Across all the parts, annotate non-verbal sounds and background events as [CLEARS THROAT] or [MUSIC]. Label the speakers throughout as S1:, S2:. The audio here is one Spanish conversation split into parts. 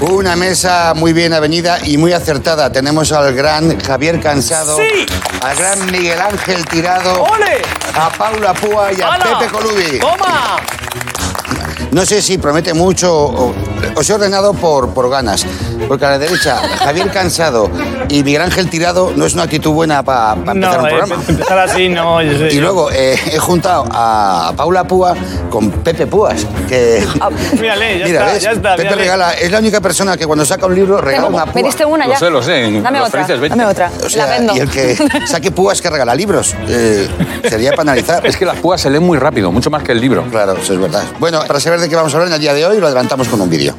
S1: Una mesa muy bien avenida y muy acertada. Tenemos al gran Javier Cansado,
S2: Sí.
S1: al gran Miguel Ángel Tirado,
S2: ¡Ole!
S1: a Paula Púa y a
S2: ¡Hala!
S1: Pepe Colubi.
S2: ¡Toma!
S1: No sé si promete mucho. o- os he ordenado por, por ganas. Porque a la derecha, Javier Cansado y Miguel Ángel Tirado no es una actitud buena para empezar un
S2: eh,
S1: programa.
S2: empezar así no. yo sé.
S1: Y luego eh, he juntado a Paula Púa con Pepe Púas, que...
S2: Mírale, Ah, ya está,
S1: ¿ves?
S2: ya está.
S1: Pepe
S2: mírale.
S1: regala, es la única persona que cuando saca un libro regala una
S3: Me
S1: púa.
S3: diste una ya.
S4: Lo sé, lo sé.
S3: Dame
S4: Los
S3: otra.
S4: felices veinte.
S3: Dame otra.
S1: O sea,
S3: la vendo.
S1: y el que saque púas que regala libros. Eh, sería para analizar. [LAUGHS]
S4: Es que las púas se leen muy rápido, mucho más que el libro.
S1: Claro, eso es verdad. Bueno, para saber de qué vamos a hablar en el día de hoy, lo adelantamos con un vídeo.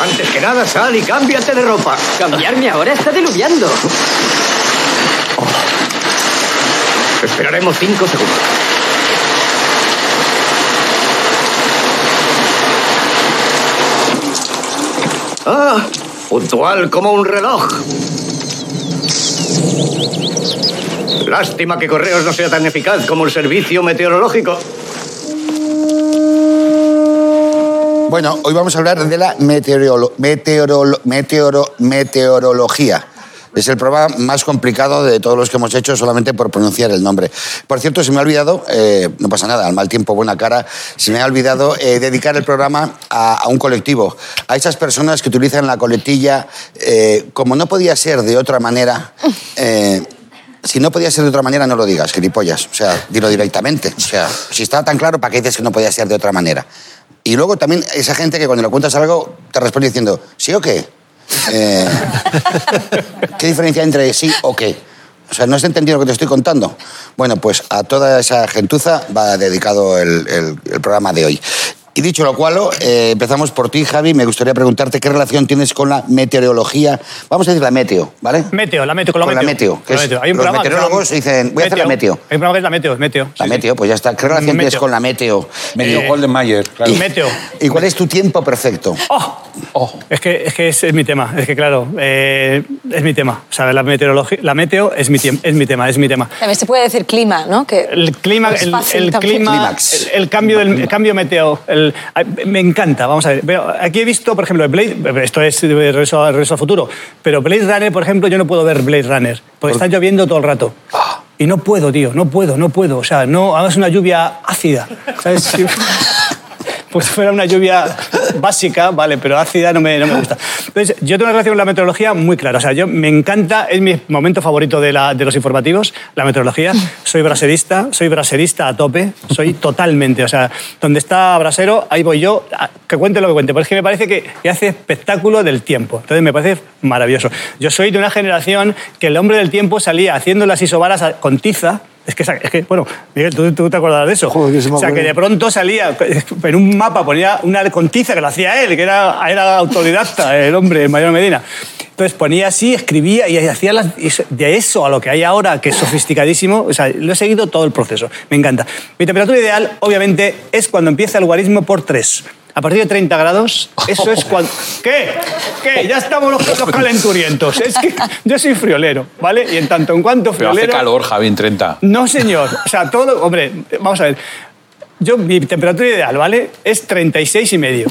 S5: Antes que nada, sal y cámbiate de ropa.
S6: Cambiarme ahora está diluviando.
S5: Esperaremos cinco segundos. ¡Ah! Puntual como un reloj. Lástima que Correos no sea tan eficaz como el servicio meteorológico.
S1: Bueno, hoy vamos a hablar de la meteorolo- meteorolo- meteoro- meteorología. Es el programa más complicado de todos los que hemos hecho solamente por pronunciar el nombre. Por cierto, se me ha olvidado, eh, no pasa nada, al mal tiempo, buena cara, se me ha olvidado eh, dedicar el programa a, a un colectivo, a esas personas que utilizan la coletilla, eh, como no podía ser de otra manera, eh, si no podía ser de otra manera, no lo digas, gilipollas. O sea, dilo directamente. O sea, si está tan claro, ¿para qué dices que no podía ser de otra manera? Y luego también esa gente que cuando le cuentas algo te responde diciendo, ¿sí o qué? Eh, ¿Qué diferencia hay entre sí o qué? O sea, ¿no has entendido lo que te estoy contando? Bueno, pues a toda esa gentuza va dedicado el, el- el programa de hoy. Y dicho lo cual, eh, empezamos por ti, Javi. Me gustaría preguntarte qué relación tienes con la meteorología. Vamos a decir la meteo, ¿vale?
S2: Meteo, la meteo, con la
S1: Con la
S2: meteo.
S1: meteo, que es- los
S2: programa que se llama
S1: meteorólogos dicen, voy a hacer la meteo.
S2: Hay un programa que es la meteo, es meteo.
S1: La
S2: sí, sí.
S1: meteo, pues ya está. ¿Qué relación tienes
S2: Meteo.
S1: con la meteo?
S4: Medio
S2: Eh,
S4: Golden Mayer, claro.
S2: y- Meteo.
S1: ¿Y cuál es tu tiempo perfecto?
S2: ¡Oh!
S4: Oh,
S2: Es que, es que ese es mi tema, es que claro, eh, es mi tema. O sea, la meteorología, la meteo es mi, tiem- es mi tema, es mi tema.
S3: También se puede decir clima, ¿no? Que
S2: El clima,
S3: es
S2: el,
S3: fácil
S2: el
S3: también.
S2: clima,
S1: Clímax.
S2: el, el cambio, del, el cambio meteo, el- ay, me encanta. Vamos a ver, veo- aquí he visto, por ejemplo, el Blade, esto es de regreso, a- regreso al futuro, pero Blade Runner, por ejemplo, yo no puedo ver Blade Runner porque está lloviendo todo el rato. Y no puedo, tío, no puedo, no puedo. O sea, no, además es una lluvia ácida. ¿sabes? Sí. Pues si fuera una lluvia básica, vale, pero ácida no me, no me gusta. Entonces, yo tengo una relación con la meteorología muy clara. O sea, yo me encanta, es mi momento favorito de, la- de los informativos, la meteorología. Soy braserista, soy braserista a tope, soy totalmente. O sea, donde está brasero, ahí voy yo, a- que cuente lo que cuente. Pero es que me parece que, que hace espectáculo del tiempo. Entonces, me parece maravilloso. Yo soy de una generación que el hombre del tiempo salía haciendo las isobaras a- con tiza. Es que, esa- es que, bueno, Miguel, ¿tú, tú te acordarás de eso.
S7: Joder, que se me
S2: o sea, que
S7: acuerda.
S2: de pronto salía en un mapa, ponía una contiza que lo hacía él, que era, era autodidacta, [LAUGHS] el hombre, el mayor Medina. Entonces ponía así, escribía y hacía las- y eso- de eso a lo que hay ahora, que es sofisticadísimo. O sea, lo he seguido todo el proceso. Me encanta. Mi temperatura ideal, obviamente, es cuando empieza el guarismo por 3. A partir de 30 grados, eso es
S7: [LAUGHS]
S2: cuando... ¿Qué? ¿Qué? Ya estamos los, los calenturientos. Es que yo soy friolero, ¿vale? Y en tanto en cuanto
S4: pero
S2: friolero...
S4: hace calor, Javi, en 30.
S2: No, señor. O sea, todo. Hombre, vamos a ver. Yo, mi temperatura ideal, ¿vale? Es 36 y medio.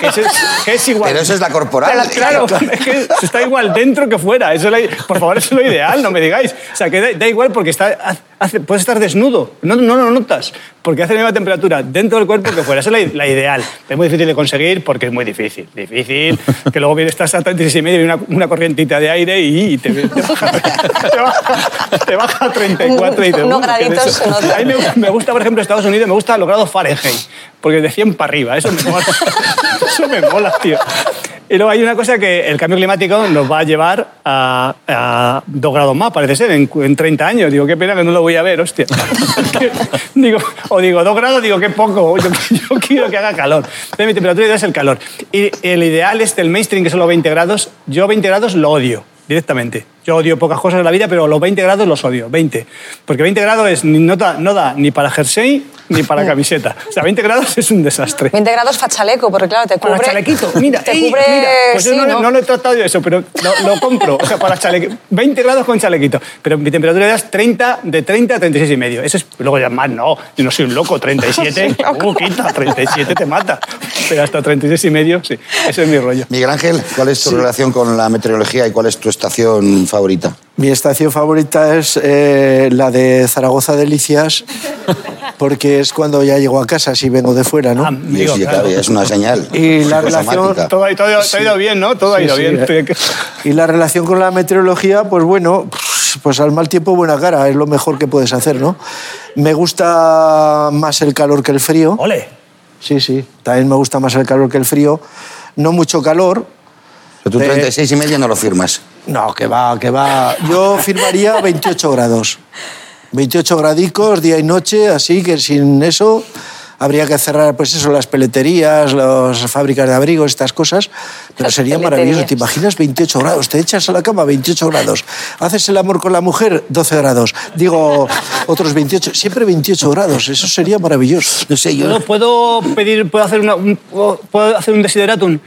S2: Que eso es, que es igual.
S1: Pero eso es la corporal.
S2: Pero, Claro,
S1: [LAUGHS]
S2: es que eso está igual dentro que fuera. Eso es la- por favor, eso es lo ideal, no me digáis. O sea, que da, da igual porque está, hace- puedes estar desnudo. No, no lo notas. Porque hace la misma temperatura dentro del cuerpo que fuera. Esa es la, i- la ideal. Es muy difícil de conseguir porque es muy difícil. Difícil. Que luego viene, estás a 36 y medio y una, una corrientita de aire y, te, te baja, [LAUGHS] te, baja, te baja a 34 y te
S3: Unos
S2: "Uy, ¿qué es
S3: graditos
S2: eso?".
S3: se notan.
S2: A mí me, me gusta, por ejemplo, Estados Unidos, me gusta los grados Fahrenheit, porque de 100 para arriba, eso me mola. [LAUGHS] Eso me mola, tío. Y luego hay una cosa que el cambio climático nos va a llevar a, a dos grados más, parece ser, en, cu- en 30 años. Digo, qué pena que no lo voy a ver, hostia. [LAUGHS] digo, o digo, dos grados, digo, qué poco, [LAUGHS] yo, yo quiero que haga calor. Entonces, mi temperatura ideal es el calor. Y el ideal es el mainstream, que son los 20 grados. Yo 20 grados lo odio. directamente. Yo odio pocas cosas en la vida, pero los 20 grados los odio, 20. Porque 20 grados es, ni- no, da, no da ni para jersey ni para camiseta. O sea, 20 grados es un desastre.
S3: 20 grados fachaleco, porque claro, te cubre.
S2: Para
S3: [LAUGHS]
S2: chalequito, mira,
S3: te
S2: ey,
S3: cubre.
S2: mira. Pues yo
S3: sí,
S2: no,
S3: ¿no?
S2: no lo he tratado de eso, pero lo, lo compro. O sea, para chalequito. 20 grados con chalequito. Pero mi temperatura ya es 30, de 30 a 36 y medio. Eso es, luego ya más, no, yo no soy un
S3: [LAUGHS]
S2: loco, 37, uh, quita, 37 te mata. Pero hasta 36 y medio, sí, ese es mi rollo.
S1: Miguel Ángel, ¿cuál es tu relación con la meteorología y cuál es tu estación favorita?
S7: Mi estación favorita es eh, la de Zaragoza Delicias, porque es cuando ya llego a casa si vengo de fuera, ¿no?
S2: Ah, digo,
S1: Sí,
S2: claro.
S1: claro, ya es una señal.
S7: Y
S1: psicosomática.
S7: la relación-
S2: Todo, ha- todo ha- todo ha ido bien, ¿no? Todo ha
S7: Sí,
S2: ido
S7: sí,
S2: bien.
S7: eh. Y la relación con la meteorología, pues bueno, pues al mal tiempo buena cara, es lo mejor que puedes hacer, ¿no? Me gusta más el calor que el frío.
S2: Ole.
S7: Sí, sí, también me gusta más el calor que el frío. No mucho calor.
S1: Pero tú
S7: de-
S1: 36 y medio no lo firmas.
S7: No, que va, que va. Yo firmaría 28 grados. 28 gradicos, día y noche, así que sin eso habría que cerrar, pues eso, las peleterías, las fábricas de abrigos, estas cosas. Pero
S3: Las
S7: sería maravilloso.
S3: peleterías.
S7: ¿Te imaginas 28 grados? Te echas a la cama, 28 grados. Haces el amor con la mujer, 12 grados. Digo, otros 28, siempre 28 grados. Eso sería maravilloso.
S1: No sé, yo...
S2: ¿Puedo, puedo pedir, puedo hacer, una, un, puedo hacer un desideratum?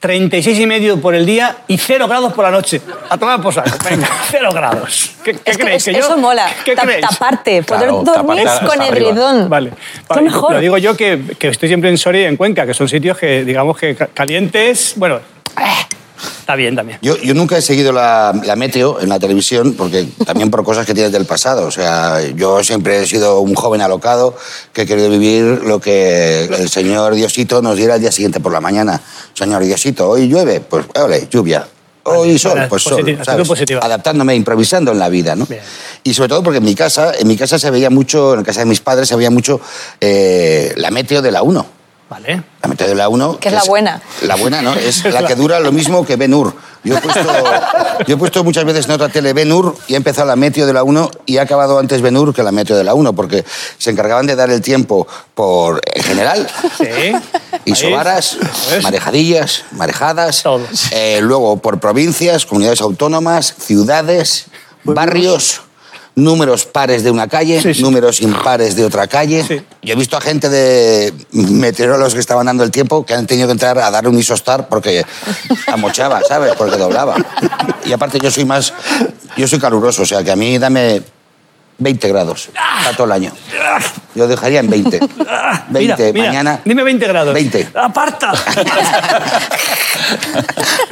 S2: 36 y medio por el día y 0 grados por la noche. A tomar por saco.
S3: [LAUGHS]
S2: Venga, 0 grados. ¿Qué, qué
S3: Es que
S2: creéis?
S3: es-
S2: ¿Que yo-
S3: eso mola.
S2: ¿Qué
S3: Ta-
S2: creéis?
S3: Taparte, poder
S4: Claro,
S3: dormir
S4: taparte
S3: con
S4: hasta
S3: el
S4: arriba.
S3: ridón.
S2: Vale.
S3: Lo
S2: Vale,
S3: mejor.
S2: Lo digo yo que, que estoy siempre en Soria y en Cuenca, que son sitios que, digamos, que ca- calientes. Bueno, eh, está bien también.
S1: Yo, yo nunca he seguido la, la meteo en la televisión, porque también por cosas que tienes del pasado. O sea, yo siempre he sido un joven alocado que he querido vivir lo que el señor Diosito nos diera el día siguiente por la mañana. Señor Diosito, hoy llueve, pues ole, lluvia. Hoy sol,
S2: Vale,
S1: pues sol.
S2: positiva,
S1: ¿sabes?
S2: actitud positiva.
S1: Adaptándome, improvisando en la vida, ¿no?
S2: Bien.
S1: Y sobre todo porque en mi casa, en mi casa se veía mucho, en la casa de mis padres se veía mucho eh, la meteo de la 1.
S2: Vale.
S1: La mitad de la 1.
S3: Que es la buena.
S1: La buena, ¿no? Es la que dura lo mismo que Ben Hur. Yo he puesto, yo he puesto muchas veces en otra tele Ben Hur y ha empezado la meteo de la 1 y ha acabado antes Ben Hur que la meteo de la 1, porque se encargaban de dar el tiempo por en general.
S2: Sí.
S1: Y
S2: Ahí.
S1: sobaras,
S2: ¿Ves?
S1: marejadillas, marejadas.
S2: Todo.
S1: Eh, luego por provincias, comunidades autónomas, ciudades, barrios, números pares de una calle,
S2: Sí, sí.
S1: números impares de otra calle.
S2: Sí.
S1: Yo he visto a gente de meteorólogos que estaban dando el tiempo que han tenido que entrar a dar un isostar porque amochaba, ¿sabes? Porque doblaba. Y aparte yo soy más, yo soy caluroso, o sea que a mí dame 20 grados para todo el año. Yo dejaría en 20. 20
S2: Mira, mira,
S1: mañana.
S2: Dime 20 grados.
S1: 20.
S2: ¡Aparta!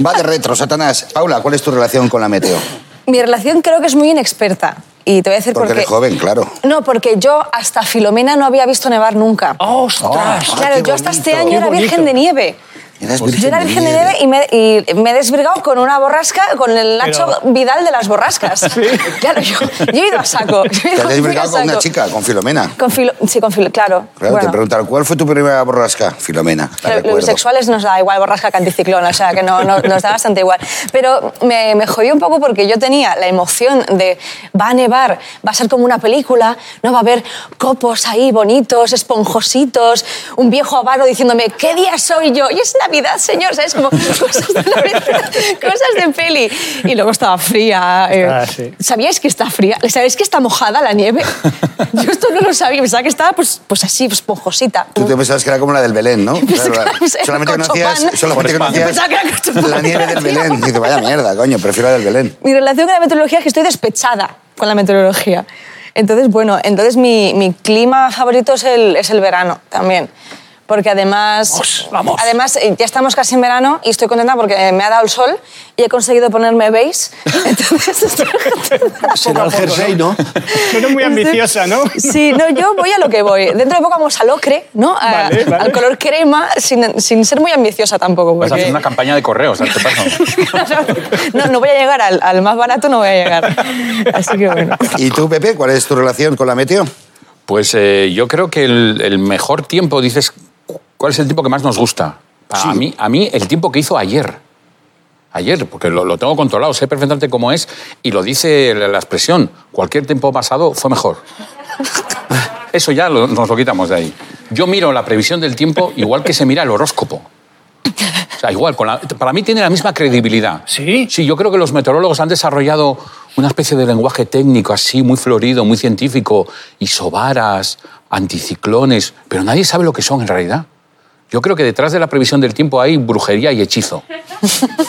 S1: Va de retro, Satanás. Paula, ¿cuál es tu relación con la meteo?
S3: Mi relación creo que es muy inexperta. Y te voy a decir
S1: Porque
S3: por qué.
S1: eres joven, claro.
S3: No, porque yo hasta Filomena no había visto nevar nunca.
S2: ¡Ostras!
S1: Ah,
S3: claro,
S1: qué
S3: yo hasta este
S1: bonito.
S3: año
S2: Qué
S3: era
S2: bonito.
S3: virgen de nieve.
S1: Eras
S3: Yo era virgen de nieve
S1: ¿eh?
S3: y me, y me he desvirgado con una borrasca, con el Nacho
S2: Pero-
S3: Vidal de las borrascas. Claro, yo, yo he ido a saco. yo
S1: Te
S3: he [LAUGHS] ido
S1: has
S3: muy a
S1: desbrigado con una
S3: saco.
S1: chica, con Filomena.
S3: Con Filo- sí, con Filo, claro.
S1: Claro,
S3: Bueno,
S1: te preguntaron, ¿cuál fue tu primera borrasca? Filomena, la
S3: pero
S1: recuerdo.
S3: los sexuales nos da igual borrasca que anticiclón, o sea que no, no- nos da bastante igual. Pero me, me jodió un poco porque yo tenía la emoción de va a nevar, va a ser como una película, no va a haber copos ahí bonitos, esponjositos, un viejo avaro diciéndome ¿qué día soy yo? Y es Navidad, señor, ¿sabes? Como cosas de Navidad, [LAUGHS] cosas de peli. Y luego estaba fría. eh,
S2: Ah, sí.
S3: ¿Sabíais que está fría? ¿Sabéis que está mojada la
S2: [LAUGHS]
S3: nieve? Yo esto no lo sabía, pensaba que estaba pues, pues así, esponjosita.
S1: Tú te pensabas que era como la del Belén, ¿no?
S3: [LAUGHS] pensé que era-
S1: solamente
S3: con
S1: conocías,
S3: Chopin.
S1: solamente
S4: Con España.
S1: conocías
S3: Pensaba que era con Chopin.
S1: la nieve del Belén. Y dices, vaya mierda, coño, prefiero la del Belén.
S3: Mi relación con la meteorología es que estoy despechada con la meteorología. Entonces, bueno, entonces mi, mi clima favorito es el, es el verano también. Porque además,
S2: Vamos, vamos.
S3: además eh, ya estamos casi en verano y estoy contenta porque eh, me ha dado el sol y he conseguido ponerme beige. [LAUGHS] Entonces, estoy contenta.
S7: Será el jersey, ¿no?
S2: Tú eres muy ambiciosa, ¿no?
S3: Sí, no, yo voy a lo que voy. Dentro de poco vamos al ocre, ¿no? A-
S2: Vale, vale.
S3: Al color crema, sin, sin ser muy ambiciosa tampoco.
S4: Vas a hacer
S3: porque-
S4: una campaña de correos, a este paso.
S3: [LAUGHS] no, no voy a llegar al, al más barato, no voy a llegar. Así que bueno.
S1: ¿Y tú, Pepe, cuál es tu relación con la meteo?
S4: Pues eh, yo creo que el, el mejor tiempo, dices, cu- ¿cuál es el tiempo que más nos gusta? A, mí, a mí, el tiempo que hizo ayer. Ayer, porque lo, lo tengo controlado, sé perfectamente cómo es, y lo dice la, la expresión, cualquier tiempo pasado fue mejor. [LAUGHS] Eso ya lo- nos lo quitamos de ahí. Yo miro la previsión del tiempo igual que se mira el horóscopo. O sea, igual, con la- para mí tiene la misma credibilidad.
S2: ¿Sí?
S4: Sí, yo creo que los meteorólogos han desarrollado una especie de lenguaje técnico así, muy florido, muy científico, isobaras, anticiclones, pero nadie sabe lo que son en realidad. Yo creo que detrás de la previsión del tiempo hay brujería y hechizo.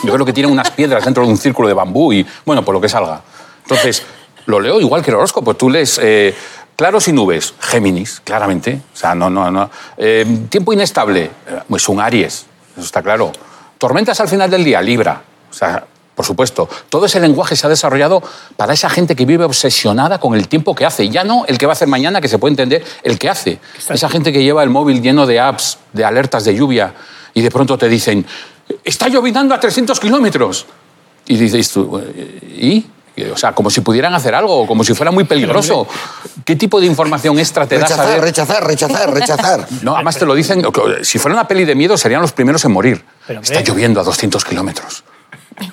S4: Yo creo que tienen unas piedras dentro de un círculo de bambú y, bueno, por lo que salga. Entonces, lo leo igual que el horóscopo. Tú lees eh, claros y nubes, Géminis, claramente. O sea, no, no, no. Eh, tiempo inestable, eh, pues un Aries, eso está claro. Tormentas al final del día, Libra. O sea, por supuesto. Todo ese lenguaje se ha desarrollado para esa gente que vive obsesionada con el tiempo que hace. Ya no el que va a hacer mañana, que se puede entender, el que hace. Esa gente que lleva el móvil lleno de apps, de alertas de lluvia, y de pronto te dicen, está llovinando a 300 kilómetros. Y dices tú, "Eh, ¿y? O sea, como si pudieran hacer algo, como si fuera muy peligroso. ¿Qué tipo de información extra te da
S1: Rechazar,
S4: saber?
S1: rechazar, rechazar, rechazar.
S4: No, además te lo dicen. Si fuera una peli de miedo, serían los primeros en morir.
S2: Pero,
S4: Está
S2: hombre.
S4: lloviendo a 200 kilómetros.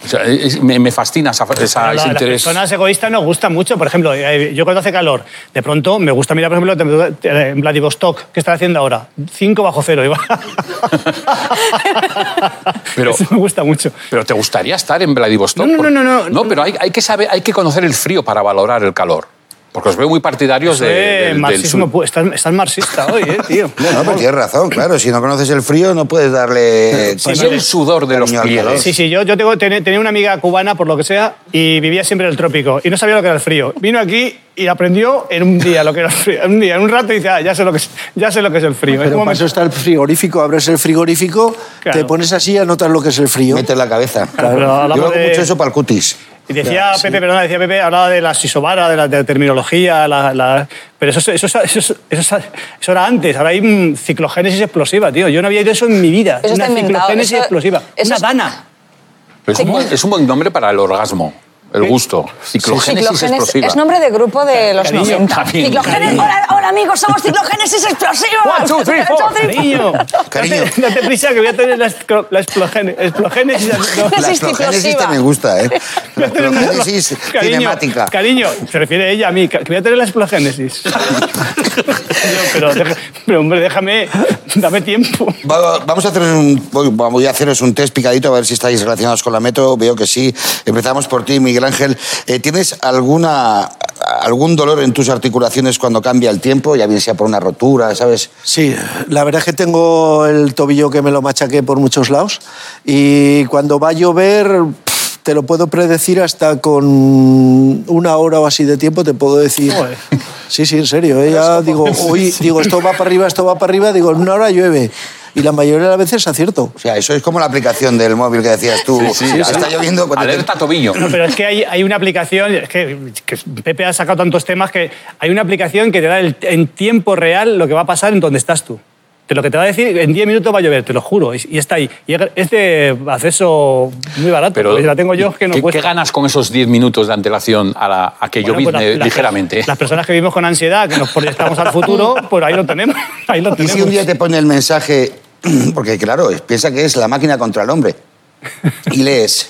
S4: O sea, es- me, me fascina esa, esa-
S2: Pero la-
S4: ese
S2: las
S4: Ah, interés.
S2: personas egoístas nos gustan mucho. Por ejemplo, eh, yo cuando hace calor, de pronto me gusta mirar, por ejemplo, la temperatura en Vladivostok, ¿qué está haciendo ahora? 5 bajo cero. Iván.
S4: [LAUGHS] Pero-
S2: Eso me gusta mucho.
S4: Pero te gustaría estar en Vladivostok.
S2: No, no,
S4: Por-
S2: no, no, no.
S4: pero hay, hay que saber, hay que conocer el frío para valorar el calor. Porque os veo muy partidarios de,
S2: Eh,
S4: del- del
S2: marxismo,
S4: sur.
S2: pu- estás, estás marxista hoy, eh, tío.
S1: Bueno, pero tienes razón, claro. Si no conoces el frío, no puedes darle. eh,
S4: Es el sudor de los
S1: Coño,
S4: pliegues.
S2: Sí, sí, yo, yo tengo, ten- tenía una amiga cubana, por lo que sea, y vivía siempre en el trópico. Y no sabía lo que era el frío. Vino aquí y aprendió en un día lo que era el frío. En un día, en un rato, y dice, ah, ya sé lo que es, ya sé lo que es el frío. Es
S7: Pero
S2: como
S7: para
S2: me-
S7: eso está el frigorífico, abres el frigorífico,
S2: Claro.
S7: te pones así y anotas lo que es el frío.
S1: Mete en la cabeza.
S2: Claro,
S1: Yo
S2: hablamos
S1: hago
S2: de-
S1: mucho eso para el cutis.
S2: Y decía Pepe, perdona, decía Pepe, hablaba de las isobaras, de la de la terminología, la- la- pero eso, eso, eso, eso, eso- eso era antes, ahora hay mm, ciclogénesis explosiva, tío. Yo no había oído eso en mi vida.
S3: Eso está
S2: una
S3: inventado,
S2: ciclogénesis
S3: eso-
S2: explosiva.
S3: eso
S2: una
S3: es-
S2: dana.
S4: Es un, buen- es un buen nombre para el orgasmo, el gusto. Ciclogénesis
S3: Ciclogénesis-
S4: explosiva.
S3: es nombre de grupo de los
S2: Cariño,
S3: 90.
S4: cariño,
S3: Ciclogénesis.
S4: cariño.
S3: Hola, hola, amigos, somos ciclogénesis explosivos.
S4: One, two, three,
S3: One,
S4: four.
S3: two, three, four.
S2: Cariño,
S1: Cariño.
S2: Date, date prisa que voy a tener la, escro- la explogene-
S3: [LAUGHS]
S2: explogénesis. no.
S1: La
S3: Es
S1: explogénesis
S3: explosiva.
S1: te me gusta,
S3: [LAUGHS]
S1: ¿eh? La explogénesis
S2: Cariño,
S1: cinemática.
S2: Cariño, se refiere ella a mí, que voy a tener la
S1: [LAUGHS]
S2: explogénesis. Yo, pero, deja- pero, hombre, déjame, dame tiempo.
S1: Va- Vamos a hacer un, voy- voy a haceros un test picadito a ver si estáis relacionados con la metro. Veo que sí. Empezamos por ti, Miguel Ángel. Eh, ¿Tienes alguna algún dolor en tus articulaciones cuando cambia el tiempo, ya bien sea por una rotura, sabes?
S7: Sí, la verdad es que tengo el tobillo que me lo machaqué por muchos lados y cuando va a llover pff, te lo puedo predecir hasta con una hora o así de tiempo te puedo decir.
S2: Joder.
S7: Sí, sí, en serio. ¿eh? Ya digo, hoy digo esto va para arriba, esto va para arriba, digo en una hora llueve y la mayoría de las veces acierto.
S1: O sea, eso es como la aplicación del móvil que decías tú. está lloviendo cuando te-
S4: Alerta tobillo.
S2: No, pero es que hay, hay una aplicación, es que, que Pepe ha sacado tantos temas que hay una aplicación que te da el- en tiempo real lo que va a pasar en donde estás tú. Te lo que te va a decir, en 10 minutos va a llover, te lo juro. Y, y está ahí. Y es de acceso muy barato,
S4: Pero
S2: porque la tengo yo, que no
S4: ¿qué,
S2: cuesta.
S4: qué ganas con esos 10 minutos de antelación a, la, a que
S2: Bueno,
S4: llovizne
S2: pues la- la-
S4: ligeramente?
S2: Las personas que vivimos con ansiedad, que nos proyectamos al
S1: [LAUGHS]
S2: futuro, pues ahí lo tenemos. Ahí lo
S1: Y
S2: tenemos.
S1: si un día te pone el mensaje, [CLEARS THROAT] porque claro, piensa que es la máquina contra el hombre, y lees,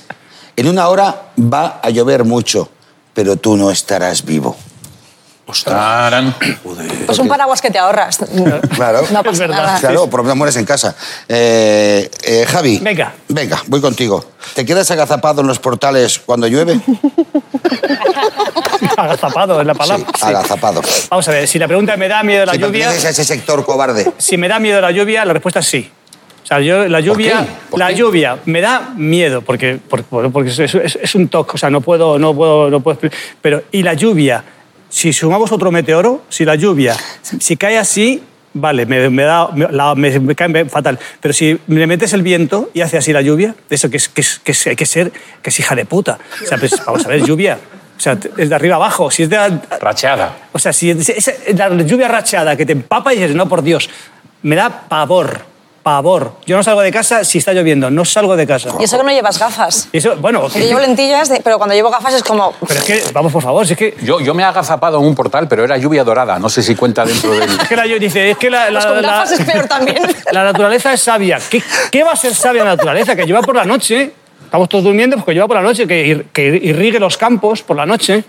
S1: en una hora va a llover mucho, pero tú no estarás vivo.
S4: Tarán.
S3: Pues un paraguas que te ahorras.
S1: Claro.
S3: No pasa
S2: [LAUGHS] Es verdad.
S3: nada.
S1: Claro, por lo menos mueres en casa. Eh, eh, Javi.
S2: Venga.
S1: Venga, voy contigo. ¿Te quedas agazapado en los portales cuando
S2: [LAUGHS]
S1: llueve?
S2: Agazapado es la palabra.
S1: Sí, agazapado.
S2: Vamos a ver, si la pregunta es, me da miedo la
S1: Si
S2: lluvia.
S1: perteneces a ese sector cobarde.
S2: Si me da miedo la lluvia, la respuesta es sí. O sea, yo, la lluvia,
S4: qué? ¿Por
S2: la
S4: qué?
S2: lluvia me da miedo porque, por- por- porque es, es- es un toque, o sea, no puedo, no puedo, no puedo. expli- Pero y la lluvia, si sumamos otro meteoro, si la lluvia, si cae así, vale, me, me da, me, la- me- me cae fatal. Pero si le metes el viento y hace así la lluvia, eso que es, que es, que es- hay que ser, que es hija de puta. O sea, pues, vamos a ver, lluvia. O sea, es de arriba abajo. Si es de,
S4: Racheada.
S2: o sea, si es- es la lluvia rachada que te empapa y dices, no, por Dios, me da pavor, pavor. Yo no salgo de casa si está lloviendo, no salgo de casa.
S3: Y eso que no llevas gafas.
S2: Y eso, bueno,
S3: Yo llevo lentillas, de- pero cuando llevo gafas es como... pues
S2: pero es que, vamos, por favor, si es que...
S4: Yo, yo me he agazapado en un portal, pero era lluvia dorada. No sé si cuenta
S1: [LAUGHS]
S4: dentro del...
S2: Es que la yo dice, es que la, la-
S3: Pues con
S2: la-
S3: gafas es peor también.
S2: [LAUGHS] la naturaleza es sabia. ¿Qué, qué va a ser sabia la naturaleza? Que lleva por la noche, estamos todos durmiendo, porque lleva por la noche, que, ir- que irrigue los campos por la noche.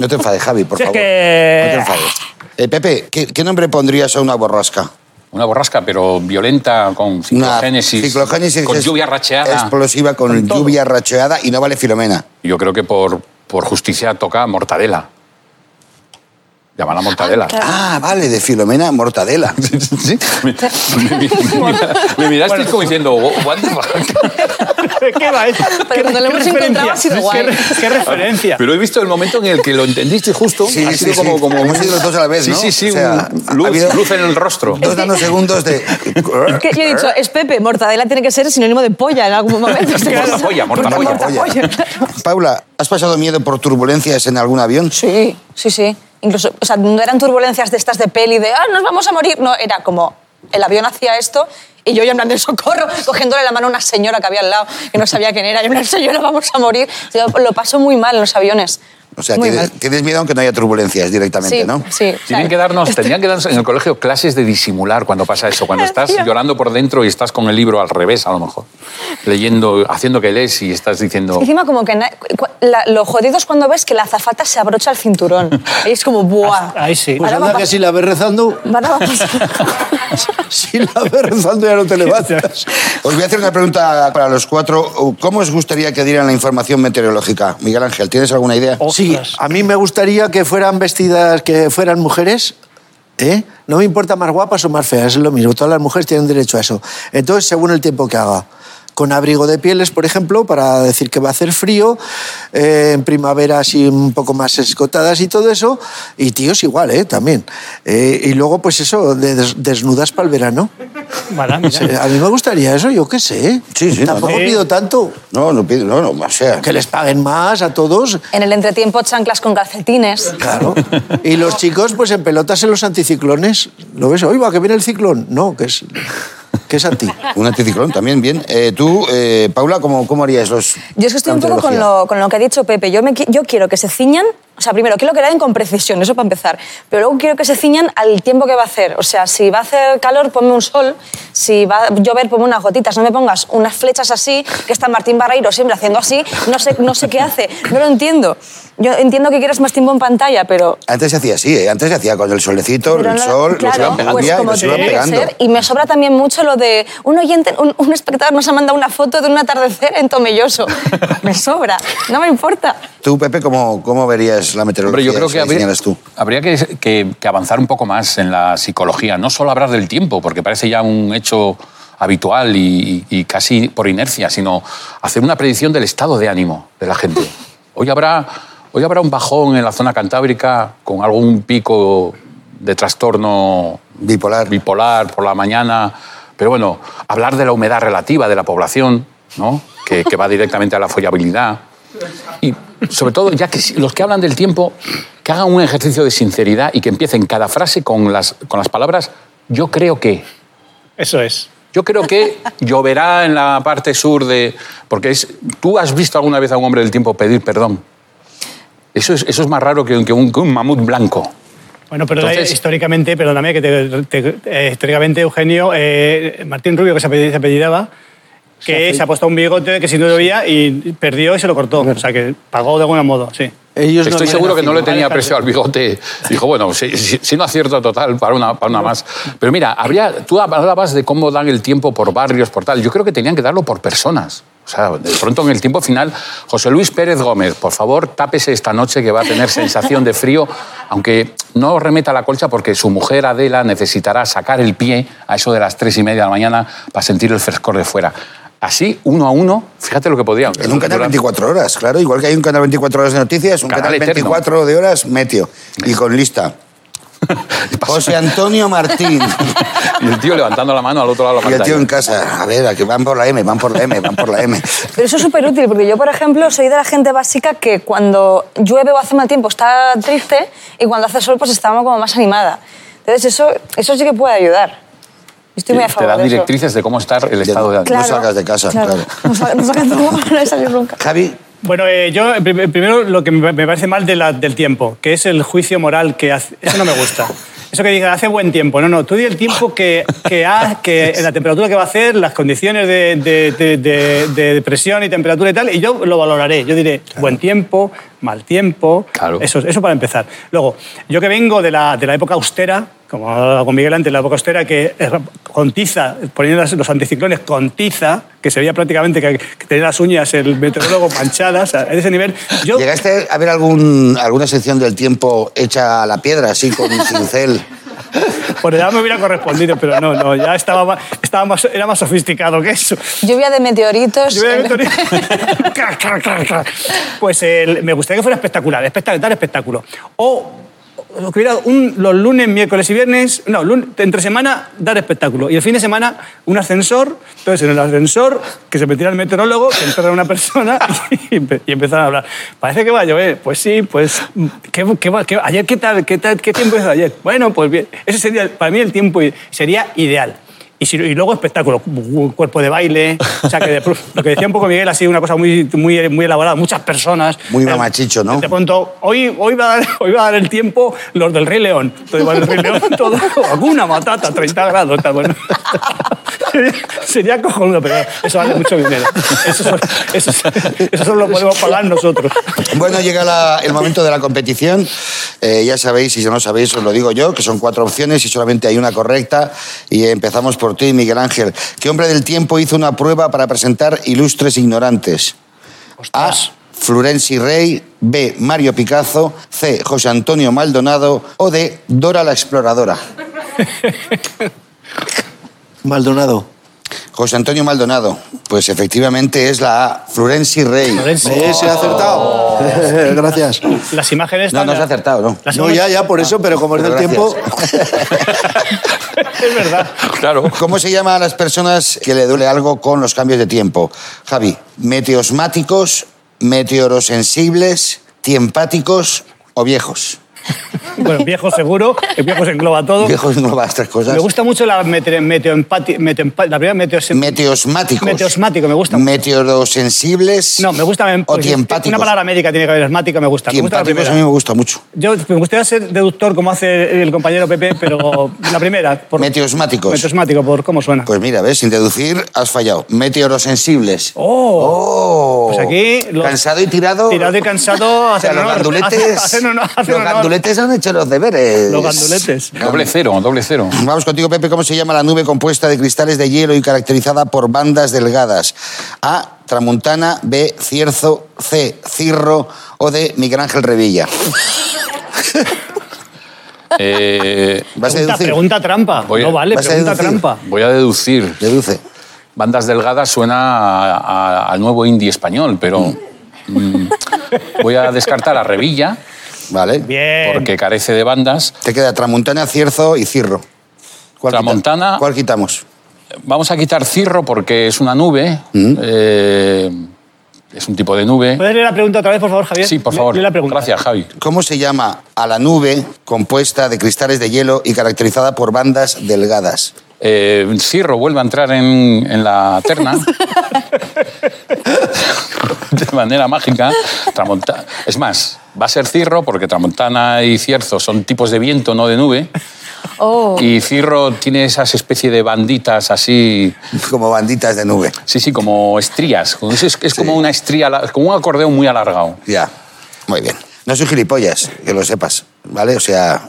S1: No te enfades, Javi, por
S2: Si es
S1: favor.
S2: que-
S1: No te enfades. Eh, Pepe, ¿qué, qué nombre pondrías a una borrasca?
S4: Una borrasca, pero violenta, con
S1: Una
S4: ciclogénesis.
S1: ciclogénesis
S4: Con
S1: es
S4: lluvia racheada.
S1: Explosiva, con,
S4: todo.
S1: lluvia racheada y no vale Filomena.
S4: Yo creo que por, por justicia toca mortadela. Llámala [LAUGHS] mortadela.
S3: claro.
S1: Ah, vale, de Filomena Mortadela.
S4: Sí, me, me- me- me miraste como diciendo, "Oh, "What the fuck?".
S2: ¿Qué va esto?
S3: Pero cuando lo hemos
S2: referencia?
S3: encontrado ha sido guay.
S2: ¿Qué, re- qué referencia?
S4: Pero he visto el momento en el que lo entendiste justo.
S1: Sí,
S4: ha
S1: sí,
S4: sido
S1: sí.
S4: como, como
S1: Hemos ido los dos a la vez,
S4: Sí,
S1: ¿no?
S4: sí, sí.
S1: O sea,
S4: un
S1: ha
S4: luz,
S1: habido-
S4: luz en el rostro.
S1: Dos nanosegundos de.
S2: [LAUGHS]
S3: Es que yo he dicho, es Pepe, mortadela tiene que ser sinónimo de polla en algún momento.
S4: Mortapolla, mortapolla.
S3: Mortapolla.
S1: Paula, ¿has pasado miedo por turbulencias en algún avión?
S3: Sí, sí, sí. Incluso, o sea, no eran turbulencias de estas de peli, de, ah, nos vamos a morir. No, era como, el avión hacía esto y yo ya en plan de socorro, [LAUGHS] cogiéndole la mano a una señora que había al lado, que no sabía quién era. Yo en plan, señora, vamos a morir. Yo lo paso muy mal en los aviones.
S1: O sea,
S3: muy
S1: tienes,
S3: mal.
S1: tienes miedo aunque no haya turbulencias directamente,
S3: Sí,
S1: ¿no?
S3: sí.
S4: Tienen
S3: claro.
S4: que darnos, tendrían que darnos en el colegio clases de disimular cuando pasa eso, cuando estás
S3: Tío.
S4: llorando por dentro y estás con el libro al revés, a lo mejor, leyendo, haciendo que lees y estás diciendo.
S3: Encima como que na- cu- la- lo jodido es cuando ves que la azafata se abrocha el
S2: [LAUGHS]
S3: cinturón. Y es como, buah.
S2: Ahí sí.
S7: Pues
S3: Ahora va
S7: anda
S3: a
S7: que
S3: [LAUGHS] pas-
S7: si la ves rezando,
S3: Van a pasar.
S7: si la ves rezando ya no te levantas.
S1: Os voy a hacer una pregunta para los cuatro. ¿Cómo os gustaría que dieran la información meteorológica? Miguel Ángel, ¿tienes alguna idea?
S4: Oh.
S7: Sí,
S2: Ostras.
S7: a mí me gustaría que fueran vestidas, que fueran mujeres. ¿eh? No me importa más guapas o más feas, es lo mismo. Todas las mujeres tienen derecho a eso. Entonces, según el tiempo que haga. Con abrigo de pieles, por ejemplo, para decir que va a hacer frío, eh, en primavera así un poco más escotadas y todo eso, y tíos igual, ¿eh? También. Eh, y luego, pues eso, de- des- desnudas para el verano.
S2: Vale, mira.
S7: Eh, A mí me gustaría eso, yo qué sé.
S1: Sí, sí,
S7: Tampoco
S2: no, no.
S7: pido tanto.
S1: No, no pido, no, no, o sea.
S7: Que les paguen más a todos.
S3: [LAUGHS] En el entretiempo chanclas con calcetines.
S7: Claro. Y los chicos, pues en pelotas en los anticiclones. ¿Lo ves? Oiga, que viene el ciclón. No, que es, que es anti.
S1: Un anticiclón también, bien. Eh, tú, eh, Paula, ¿cómo, ¿cómo harías los.?
S3: Yo es que estoy
S1: la
S3: un poco con
S1: meteorología?
S3: lo, con lo que ha dicho Pepe. Yo, me qui- yo quiero que se ciñan, o sea, primero quiero que la den con precisión, eso para empezar. Pero luego quiero que se ciñan al tiempo que va a hacer. O sea, si va a hacer calor, ponme un sol. Si va a llover, ponme unas gotitas. No me pongas unas flechas así, que está Martín Barreiro siempre haciendo así. No sé, no sé qué hace. No lo entiendo. Yo entiendo que quieres más tiempo en pantalla, pero.
S1: Antes se hacía así, ¿eh? antes se hacía con el solecito,
S3: pero
S1: el
S3: no-
S1: sol, los
S3: claro,
S1: iban pegando,
S3: pues
S1: y
S3: como
S1: los iban
S3: tiene que
S1: pegando.
S3: ser. Y me sobra también mucho lo de un oyente, un, un espectador nos ha mandado una foto de un atardecer en Tomelloso. me sobra, no me importa.
S1: Tú, Pepe, ¿cómo, cómo verías la meteorología?
S4: Hombre, yo creo
S1: si
S4: que
S1: la
S4: habría,
S1: diseñaras tú.
S4: habría que, que- que avanzar un poco más en la psicología, no solo hablar del tiempo, porque parece ya un hecho habitual y, y casi por inercia, sino hacer una predicción del estado de ánimo de la gente. Hoy habrá, hoy habrá un bajón en la zona cantábrica con algún pico de trastorno
S1: Bipolar.
S4: bipolar por la mañana. Pero bueno, hablar de la humedad relativa de la población, ¿no? que, que va directamente a la follabilidad. Y sobre todo, ya que si- los que hablan del tiempo, que hagan un ejercicio de sinceridad y que empiecen cada frase con las, con las palabras yo creo que.
S2: Eso es.
S4: Yo creo que lloverá en la parte sur de... Porque es, tú has visto alguna vez a un hombre del tiempo pedir perdón. Eso es, eso es más raro que, un- que un, que un mamut blanco.
S2: Bueno, pero
S4: Entonces-
S2: eh, históricamente, perdóname, que te- te- eh, históricamente Eugenio, eh, Martín Rubio, que se apellid- se apellidaba, que se ha puesto un bigote que si no llovía y perdió y se lo cortó. O sea, que pagó de algún modo, sí.
S7: Ellos
S4: Estoy
S7: no
S4: seguro que no le
S7: tienen
S4: tenía precio al bigote. Dijo, bueno, si, si- si no acierto total, para una, para una más. Pero mira, habría, tú hablabas de cómo dan el tiempo por barrios, por tal. Yo creo que tenían que darlo por personas. O sea, de pronto en el tiempo final, José Luis Pérez Gómez, por favor, tápese esta noche que va a tener sensación de frío, aunque no remeta la colcha porque su mujer Adela necesitará sacar el pie a eso de las tres y media de la mañana para sentir el frescor de fuera. Así, uno a uno, fíjate lo que podría.
S1: En un canal 24 horas, claro. Igual que hay un canal 24 horas de noticias, un
S4: Canal
S1: canal,
S4: eterno.
S1: 24 de horas meteo. Y con lista. José Antonio Martín.
S4: Y el tío levantando la mano al otro lado de la
S1: y el
S4: pantalla.
S1: tío en casa. A ver, a que van por la M, van por la M, van por la M.
S3: Pero eso es súper útil, porque yo, por ejemplo, soy de la gente básica que cuando llueve o hace mal tiempo está triste y cuando hace sol pues está como más animada. Entonces eso, eso sí que puede ayudar. Yo Estoy muy a
S4: Eh, te
S3: favor
S4: dan
S3: de eso.
S4: directrices de cómo estar el estado de ánimo.
S1: Claro. No salgas de casa, claro.
S3: No sa- No salgas de casa, no he salido nunca.
S1: Javi,
S2: Bueno, eh, yo eh, prim- primero lo que me me parece mal de la- del tiempo, que es el juicio moral que hace. Eso no me gusta. Eso que diga, hace buen tiempo. No, no, tú di el tiempo que, que, ha- que la temperatura que va a hacer, las condiciones de, de- de- de- de presión y temperatura y tal, y yo lo valoraré. Yo diré, buen tiempo, mal tiempo.
S4: Claro.
S2: Pues Eso, eso para empezar. Luego, yo que vengo de la, de la época austera, como hablaba con Miguel antes, la boca costera, que eh, con tiza, poniendo las- los anticiclones con tiza, que se veía prácticamente que, que tenía las uñas el meteorólogo manchadas, a ese nivel. Yo,
S1: ¿Llegaste a ver algún, alguna sección del tiempo hecha a la piedra, así, con un cincel?
S2: por edad me hubiera correspondido, pero no, no, ya estaba, ma- estaba más, era más sofisticado que eso.
S3: Lluvia de meteoritos. eh,
S2: Yo hubiera
S3: [LAUGHS]
S2: visto [LAUGHS] ni- Crac, crac, crac, crac. pues el- me gustaría que fuera espectacular, espectacular, espectáculo. O o que hubiera un- los lunes, miércoles y viernes, no, lun- entre semana dar espectáculo. Y el fin de semana un ascensor, entonces en el ascensor que se metiera el meteorólogo, que entrara una persona [LAUGHS] y, empe- y empezaran a hablar. Parece que va a llover, pues sí, pues... ¿qué, qué va- qué- ayer, ¿qué tal? ¿Qué tal? ¿Qué tiempo hizo ayer? Bueno, pues bien, ese sería para mí el tiempo i- sería ideal. Y, si- y luego espectáculo, cu- cuerpo de baile, o sea, que de pro- lo que decía un poco Miguel, ha sido una cosa muy, muy, muy elaborada, muchas personas.
S1: Muy
S2: Eh,
S1: mamachicho, ¿no?
S2: De pronto, hoy, hoy, va a dar, hoy va a dar el tiempo los del Rey León. Entonces, van el Rey León todo, [LAUGHS] alguna matata, 30 grados, está bueno. [LAUGHS] Sería- Sería cojonudo, pero eso vale mucho dinero. Eso, solo- eso, eso solo lo podemos pagar nosotros.
S1: Bueno, llega la- el momento de la competición. Eh, ya sabéis, si no sabéis, os lo digo yo, que son cuatro opciones y solamente hay una correcta. Y empezamos por ti, Miguel Ángel. ¿Qué hombre del tiempo hizo una prueba para presentar ilustres ignorantes? A. Florenci Rey. B. Mario Picasso. C. José Antonio Maldonado. O D. Dora la Exploradora.
S7: Maldonado.
S1: José Antonio Maldonado. Pues efectivamente es la A. Florenci Rey.
S7: Eh, se ha acertado. [LAUGHS] Gracias.
S2: Las imágenes...
S1: No, no
S2: tan-
S1: has acertado, ¿no?
S2: las
S7: No,
S2: imágenes-
S7: ya, ya, por eso, pero como es
S1: pero
S7: del tiempo...
S2: Es verdad.
S4: Claro.
S1: ¿Cómo se llama a las personas que le duele algo con los cambios de tiempo? Javi, meteosmáticos, meteorosensibles, tiempáticos o viejos.
S2: Bueno, viejo seguro, el viejo se engloba todo.
S1: Viejos no las tres cosas.
S2: Me gusta mucho la meteo, la primera meteo,
S1: Meteosmáticos.
S2: Meteosmático, me gusta.
S1: Meteorosensibles.
S2: no, me gusta
S1: O
S2: porque
S1: tiempáticos.
S2: Una palabra médica tiene que haber, esmática me gusta. Me gusta la
S1: Tiempáticos
S2: primera.
S1: a mí me gusta mucho.
S2: Yo me gustaría ser deductor como hace el compañero Pepe, pero la primera. Por
S1: Meteosmáticos.
S2: Meteosmático, por cómo suena.
S1: Pues mira, ves, sin deducir has fallado. Meteorosensibles. Oh.
S2: ¡Oh! Pues aquí los-
S1: Cansado y tirado.
S2: Tirado y
S1: [LAUGHS]
S2: cansado
S1: O sea,
S2: hacen
S1: los
S2: honor,
S1: ganduletes.
S2: hacen- [LAUGHS] hacen honor, hacen
S1: los
S2: honor.
S1: ganduletes han hecho los deberes.
S2: Los
S4: [LAUGHS]
S2: ganduletes.
S4: Doble cero, doble cero.
S1: Vamos contigo, Pepe. ¿Cómo se llama la nube compuesta de cristales de hielo y caracterizada por bandas delgadas? A. Tramuntana. B. Cierzo. C. Cirro. O D. Miguel Ángel Revilla.
S4: Eh,
S1: ¿Vas a
S2: Pregunta,
S1: deducir?
S2: pregunta trampa.
S4: Voy a-
S2: no vale,
S1: ¿vas a
S2: pregunta
S1: deducir?
S2: trampa.
S4: voy a deducir.
S1: Deduce.
S4: Bandas Delgadas suena a- a- al nuevo indie español, pero mm, voy a descartar a Revilla,
S1: Vale.
S2: Bien.
S4: porque carece de bandas.
S1: Te queda Tramuntana, Cierzo y Cirro. ¿Cuál quita-
S4: Tramuntana.
S1: ¿Cuál quitamos?
S4: Vamos a quitar Cirro porque es una nube,
S2: Mm.
S4: eh, es un tipo de nube.
S2: ¿Puedes leer la pregunta otra vez, por favor, Javier?
S4: Sí, por
S2: Le-
S4: favor.
S2: lee la pregunta.
S4: Gracias, Javi.
S1: ¿Cómo se llama a la nube compuesta de cristales de hielo y caracterizada por bandas delgadas? [LAUGHS]
S4: Eh, Cirro vuelve a entrar en, en la
S1: [LAUGHS]
S4: terna de manera mágica. Tramonta- es más, va a ser Cirro porque Tramontana y Cierzo son tipos de viento, no de nube.
S3: Oh.
S4: Y Cirro tiene esas especie de banditas así,
S1: Como banditas de nube.
S4: sí, sí, como estrías. Es, es- es como una estría, ala- como un acordeón muy alargado.
S1: Ya, muy bien. No soy gilipollas, que lo sepas, ¿vale? O sea,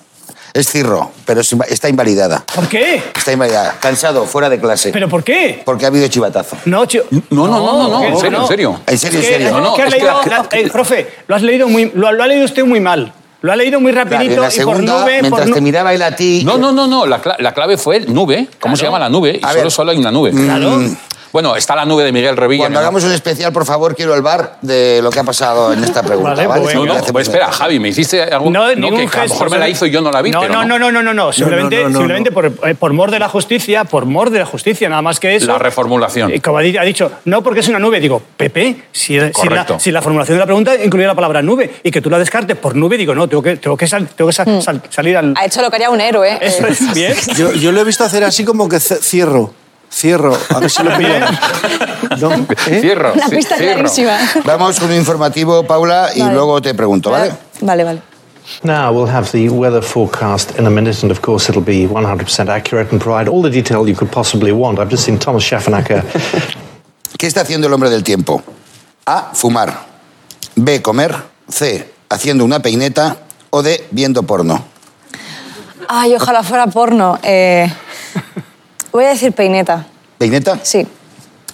S1: es cirro, pero es inva- está invalidada.
S2: ¿Por qué?
S1: Está invalidada. Cansado, fuera de clase.
S2: ¿Pero por qué?
S1: Porque ha habido chivatazo.
S2: No, chi-
S4: No, no, no, no, no,
S2: ¿qué?
S4: en serio,
S2: No.
S4: en serio.
S1: En serio, en
S2: Es que-
S1: serio.
S2: es
S4: No, no,
S2: que ha
S4: es que
S2: leído,
S4: la-
S2: la- eh, profe, lo, has leído muy, lo, lo ha leído usted muy mal. Lo ha leído muy
S1: Claro, y
S2: rapidito
S1: en la
S2: y por
S1: segunda,
S2: nube... por
S1: mientras
S2: nu-
S1: te miraba él a ti...
S4: No, no, no, no. La, cla- la clave fue el nube. ¿Cómo se llama la nube? Y
S1: A
S4: solo,
S1: ver.
S4: solo hay una nube.
S2: Claro.
S4: Bueno, está la nube de Miguel Revilla.
S1: Cuando
S4: mi amor.
S1: hagamos un especial, por favor, quiero el bar de lo que ha pasado en
S2: [LAUGHS]
S1: esta pregunta.
S2: Vale,
S1: Vale,
S2: pues
S1: Si
S4: No,
S1: me
S4: no,
S2: venga.
S1: parece
S4: pues
S1: muy
S4: espera,
S1: bien.
S4: Javi, me hiciste algo
S2: No,
S4: no,
S2: ningún
S4: que a lo
S2: gesto,
S4: mejor me la
S2: ¿sabes?
S4: hizo y yo no la vi.
S2: No,
S4: pero
S2: no, no, no, no, no, no. Simplemente,
S7: no, no, no.
S2: simplemente Por, eh, por mor de la justicia, por mor de la justicia, nada más que eso. Eh,
S4: La reformulación.
S2: Y como ha di- ha dicho, no porque es una nube. Digo, Pepe, si, si, la,
S4: Correcto.
S2: si la formulación de la pregunta incluía la palabra nube y que tú la descartes por nube, digo, no, tengo que, tengo que, sal- tengo que
S1: Mm.
S2: sal- sal- salir al.
S3: Ha hecho lo que haría un héroe.
S2: [LAUGHS] Eso
S3: Eh,
S2: es bien.
S7: Yo, yo lo he visto hacer así como que ce- cierro, cierro, a ver si lo pillan. No, ¿eh?
S3: [LAUGHS]
S4: Cierro.
S3: La
S4: ci-
S3: pista es
S4: cierro.
S3: clarísima.
S1: Vamos con un informativo, Paula, y
S3: Vale.
S1: luego te pregunto, ¿vale?
S3: Vale, vale.
S8: Now we'll have the weather forecast in a minute, and of course it'll be 100% accurate and provide all the detail you could possibly want. I've just seen Thomas Schaffernacker
S1: ¿Qué está haciendo el hombre del tiempo? A. Fumar. B. Comer. C. Haciendo una peineta. O D. Viendo porno.
S3: Ay, ojalá fuera porno. Eh, voy a decir peineta.
S1: ¿Peineta?
S3: Sí.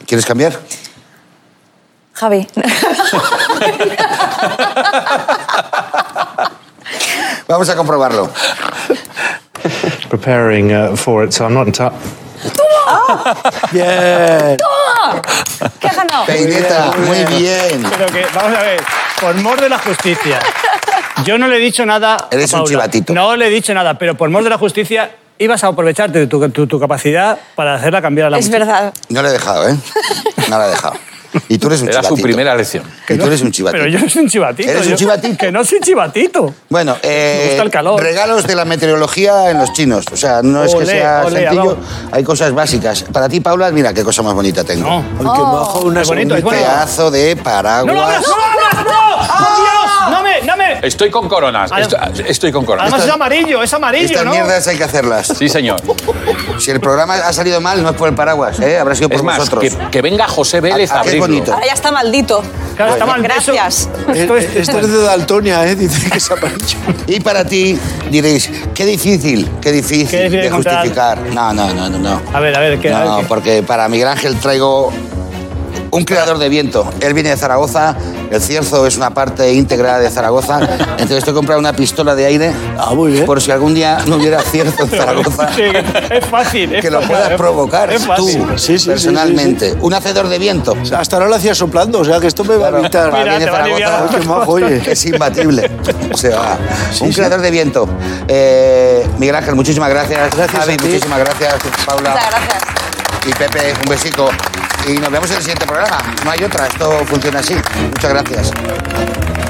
S1: ¿Quieres cambiar?
S3: Javi. [LAUGHS]
S1: Vamos a comprobarlo.
S8: preparing uh, for it, so I'm not in touch.
S7: Bien.
S3: ¿Qué has ganado?
S1: Peineta, muy bien.
S2: Pero que, vamos a ver, por mor de la justicia. Yo no le he dicho nada.
S1: Eres
S2: a
S1: un
S2: Paula.
S1: chivatito.
S2: No le he dicho nada, pero por mor de la justicia ibas a aprovecharte de tu, tu- tu capacidad para hacerla cambiar a la
S3: Es
S2: muchacha.
S3: verdad.
S1: No la he dejado, ¿eh? No la he dejado. Y tú eres un
S4: Era
S1: chivatito.
S4: su primera lección.
S1: Y tú eres un chivatito.
S2: Pero yo no soy un chivatito.
S1: Eres un
S2: yo-
S1: chivatito.
S2: Que no soy chivatito.
S1: Bueno, eh,
S2: [LAUGHS] Me gusta el calor.
S1: regalos de la meteorología en los chinos. O sea, no es que
S2: Olé,
S1: sea
S2: olé,
S1: sencillo.
S2: vamos.
S1: Hay cosas básicas. Para ti, Paula, mira qué cosa más bonita tengo.
S2: No.
S7: Ay, qué majo, una
S2: Qué bonito,
S7: sombrita.
S2: es bonito.
S1: Pedazo de paraguas.
S2: ¡No lo abras! ¡No lo abras! ¡No! ¡Por Dios! ¡No me! ¡No me!
S4: Estoy con coronas.
S2: Además-
S4: Estoy, estoy con coronas.
S2: Además es amarillo, es amarillo,
S1: Estas
S2: ¿no?
S1: mierdas hay que hacerlas.
S4: Sí, señor.
S1: Si el programa ha salido mal, no es por el paraguas, ¿eh? Habrá sido por
S4: Es más,
S1: vosotros.
S4: que, que venga José Vélez
S1: Ah,
S4: a
S1: qué
S4: abrirlo.
S1: bonito.
S3: Ahora ya está maldito.
S2: Claro, está mal. eso-
S3: Gracias.
S2: esto es-
S7: Eh, Esto es de Daltonia, ¿eh? Dice que se ha aparecido.
S1: Y para ti, diréis, qué difícil, qué difícil
S2: Qué difícil
S1: de
S2: encontrar.
S1: justificar. No, no, no, no, no.
S2: A ver, a ver, que- a
S1: No,
S2: ver, que-
S1: porque para Miguel Ángel traigo un creador de viento. Él viene de Zaragoza, el cierzo es una parte íntegra de Zaragoza. Entonces te he comprado una pistola de aire
S7: Ah, muy bien.
S1: por si algún día no hubiera cierzo en Zaragoza.
S2: [LAUGHS] Sí, es fácil. es
S1: Que lo
S2: fácil,
S1: puedas
S2: es-
S1: provocar
S2: es
S1: tú,
S2: fácil.
S7: Sí, sí, sí,
S1: personalmente. Un hacedor de viento.
S7: O sea, Hasta ahora lo hacía soplando, o sea que esto me va a
S1: Claro,
S7: evitar.
S1: para
S2: Mira,
S1: mí de
S2: te va a aliviar.
S1: Zaragoza,
S7: Ay, qué
S2: [LAUGHS]
S7: majo, oye.
S1: Es imbatible. O sea, un creador de viento. Eh, Miguel Ángel, muchísimas gracias.
S7: Gracias a
S1: Javi,
S7: ti.
S1: muchísimas gracias. Paula
S3: Muchas gracias.
S1: y Pepe, un besico. Y nos vemos en el siguiente programa. No hay otra, esto funciona así. Muchas gracias.